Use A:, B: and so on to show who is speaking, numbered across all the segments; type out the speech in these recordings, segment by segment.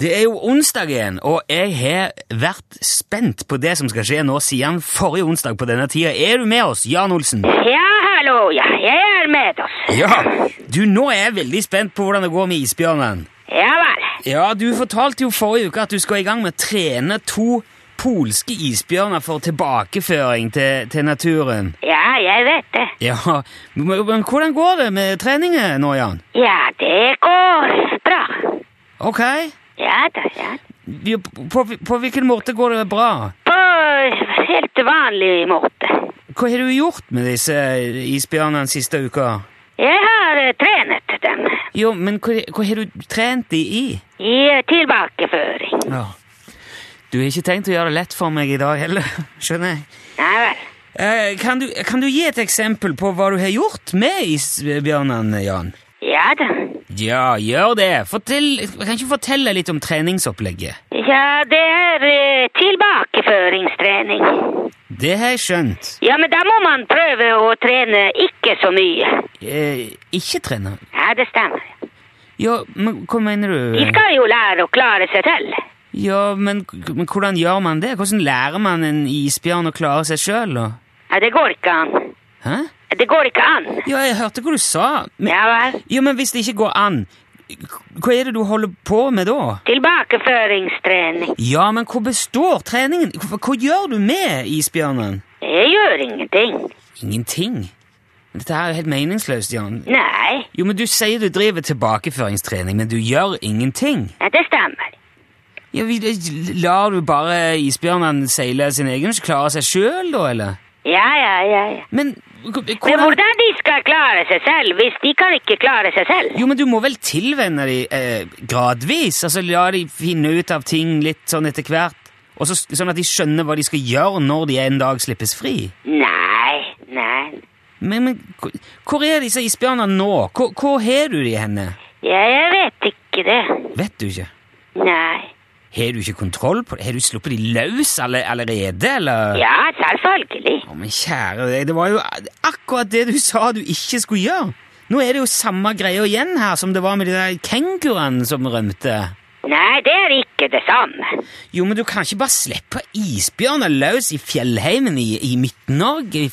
A: Det er jo onsdag igjen, og jeg har vært spent på det som skal skje nå siden forrige onsdag på denne tida. Er du med oss, Jan Olsen?
B: Ja, hallo, ja, jeg er med oss.
A: Ja. Du, nå er jeg veldig spent på hvordan det går med isbjørnen.
B: Ja vel.
A: Ja, du fortalte jo forrige uke at du skal i gang med å trene to polske isbjørner for tilbakeføring til, til naturen.
B: Ja, jeg vet det.
A: Ja, men, men hvordan går det med treningen nå, Jan?
B: Ja, det går bra.
A: Ok,
B: Ja da, ja.
A: Vi- på, på hvilken måte går det bra?
B: På helt vanlig måte.
A: Hva har du gjort med disse isbjørnene siste uka?
B: Jeg har eh, trenet dem
A: Jo, men hva, hva har du trent de i?
B: i eh, tilbakeføring.
A: Ja. Du har ikke tenkt å gjøre det lett for meg i dag heller, skjønner jeg.
B: Ja vel.
A: Eh, kan, du, kan du gi et eksempel på hva du har gjort med isbjørnene, Jan?
B: Ja da.
A: Ja, gjør det. Fortell, kan ikke du fortelle litt om treningsopplegget?
B: Ja, det er eh, tilbakeføringstrening.
A: Det har jeg skjønt.
B: Ja, men da må man prøve å trene ikke så mye.
A: Eh, ikke trene.
B: Ja, det stemmer.
A: Ja, men hva mener du?
B: De skal jo lære å klare seg selv.
A: Ja, men, men hvordan gjør man det? Hvordan lærer man en isbjørn å klare seg sjøl?
B: Ja, det går ikke an.
A: Hæ?
B: Det går ikke an.
A: Ja, jeg hørte hva du sa. Men,
B: Ja vel.
A: ja, men hvis det ikke går an, hva er det du holder på med da?
B: Tilbakeføringstrening.
A: Ja, men hva består treningen? Hva, hva gjør du med isbjørnen?
B: Jeg gjør ingenting.
A: Ingenting. Dette her er jo helt meningsløst, Jan.
B: Nei,
A: Jo, men Du sier du driver tilbakeføringstrening, men du gjør ingenting.
B: ja, det stemmer.
A: Ja, vi, Lar du bare isbjørnen seile sin egen, så klare seg sjøl, da, eller?
B: Ja, ja, ja. ja.
A: Men h-
B: Men
A: hvordan
B: hvordan de skal klare seg selv hvis de kan ikke klare seg selv?
A: Jo, men du må vel tilvenne de eh, gradvis? Altså la de finne ut av ting litt sånn etter hvert? Og så, sånn at de skjønner hva de skal gjøre når de en dag slippes fri?
B: Nei, nei.
A: Men, men hvor- hvor er disse isbjørnene nå? Hvor, hvor har du de henne?
B: Ja, jeg vet ikke det.
A: Vet du ikke?
B: Nei.
A: Har du ikke kontroll på det? Har du sluppet de løs alle, allerede, eller?
B: Ja, selvfølgelig.
A: Å, men kjære deg, det var jo akkurat det du sa du ikke skulle gjøre! Nå er det jo samme greia igjen her som det var med de der kenguruene som rømte.
B: Nei, det er ikke det samme.
A: Jo, men du kan ikke bare slippe isbjørner løs i fjellheimen i, i Midt-Norge, i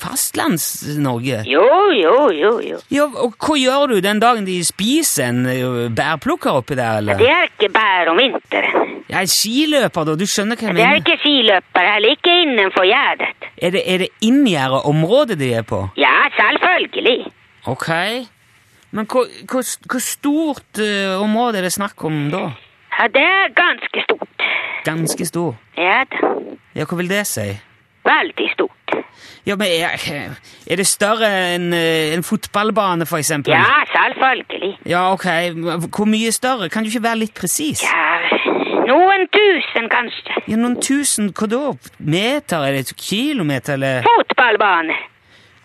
A: Fastlands-Norge.
B: Jo, jo, jo, jo.
A: Ja, og hva gjør du den dagen de spiser en ø, bærplukker oppi der, eller?
B: Det er ikke bare om vinteren.
A: Ja, en skiløper, da, du skjønner hva jeg
B: Det er
A: mener.
B: ikke skiløper heller, ikke innenfor gjerdet.
A: Er det, er det inngjerdet området de er på?
B: Ja, selvfølgelig.
A: Ok. Men hvor, hvor, hvor stort ø, område er det snakk om da?
B: Ja, det er ganske stort.
A: Ganske stor.
B: Ja da.
A: Ja, hva vil det si?
B: Veldig stort.
A: Ja, men er, er det større enn ø, en fotballbane, for eksempel?
B: Ja, selvfølgelig.
A: Ja, ok. Hvor mye større? Kan du ikke være litt presis?
B: Ja, noen tusen, kanskje.
A: Ja, noen tusen, hva da? Meter, eller et kilometer, eller
B: Fotballbane.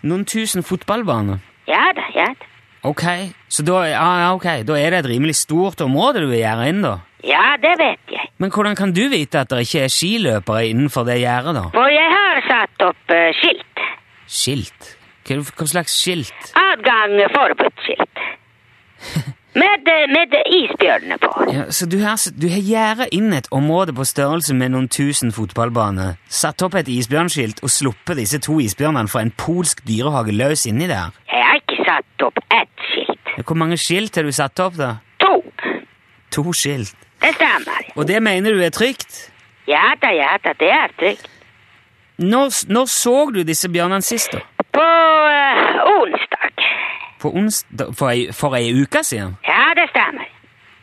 A: noen tusen fotballbaner?
B: Ja da, ja da.
A: Ok, så da, ja, ja, ok. da er det et rimelig stort område du gjerder inn, da.
B: Ja, det vet jeg.
A: Men hvordan kan du vite at det ikke er skiløpere innenfor det gjerdet, da?
B: For jeg har satt opp eh, skilt.
A: Skilt? Hva, hva slags skilt?
B: Adgang forbudt-skilt. Med, eh, med isbjørnene på.
A: Ja, så du har, du har gjerdet inn et område på størrelse med noen tusen fotballbaner, satt opp et isbjørnskilt og sluppet disse to isbjørnene fra en polsk dyrehage løs inni der?
B: Jeg har ikke satt opp ett skilt.
A: Ja, Hvor mange skilt har du satt opp, da?
B: To.
A: To skilt.
B: Det stemmer.
A: Og det mener du er trygt?
B: Ja da, ja da, det er trygt.
A: Når, s- når så du disse bjørnene sist, da?
B: På eh, onsdag.
A: På onsdag, for, ei, for ei uke siden?
B: Ja, det stemmer.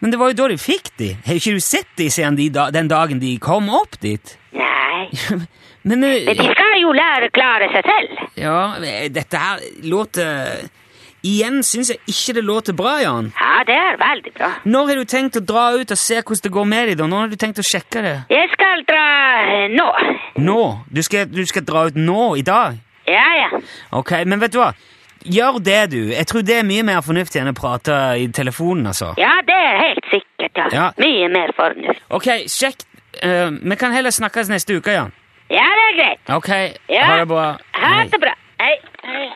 A: Men det var jo da de fikk de. Har ikke du sett de siden de, da- den dagen de kom opp dit?
B: Nei.
A: Men eh,
B: Men de skal jo lære å klare seg selv.
A: Ja, eh, dette her låter Igjen syns jeg ikke det låter bra, Jan.
B: Ja, det er veldig bra.
A: Når har du tenkt å dra ut og se hvordan det går med de da? Når har du tenkt å sjekke det?
B: Jeg skal dra eh, nå.
A: Nå? Du skal, du skal dra ut nå? I dag?
B: Ja, ja.
A: Ok, men vet du hva? Gjør det, du. Jeg tror det er mye mer fornuftig enn å prate i telefonen, altså.
B: Ja, det er helt sikkert. Ja.
A: Ja.
B: Mye mer fornuft.
A: Ok, sjekk. Eh, vi kan heller snakkes neste uke, Jan.
B: Ja, det er greit.
A: Ok,
B: Ja.
A: ha det bra.
B: Ha
A: Hei.
B: det bra. Hei. Hei.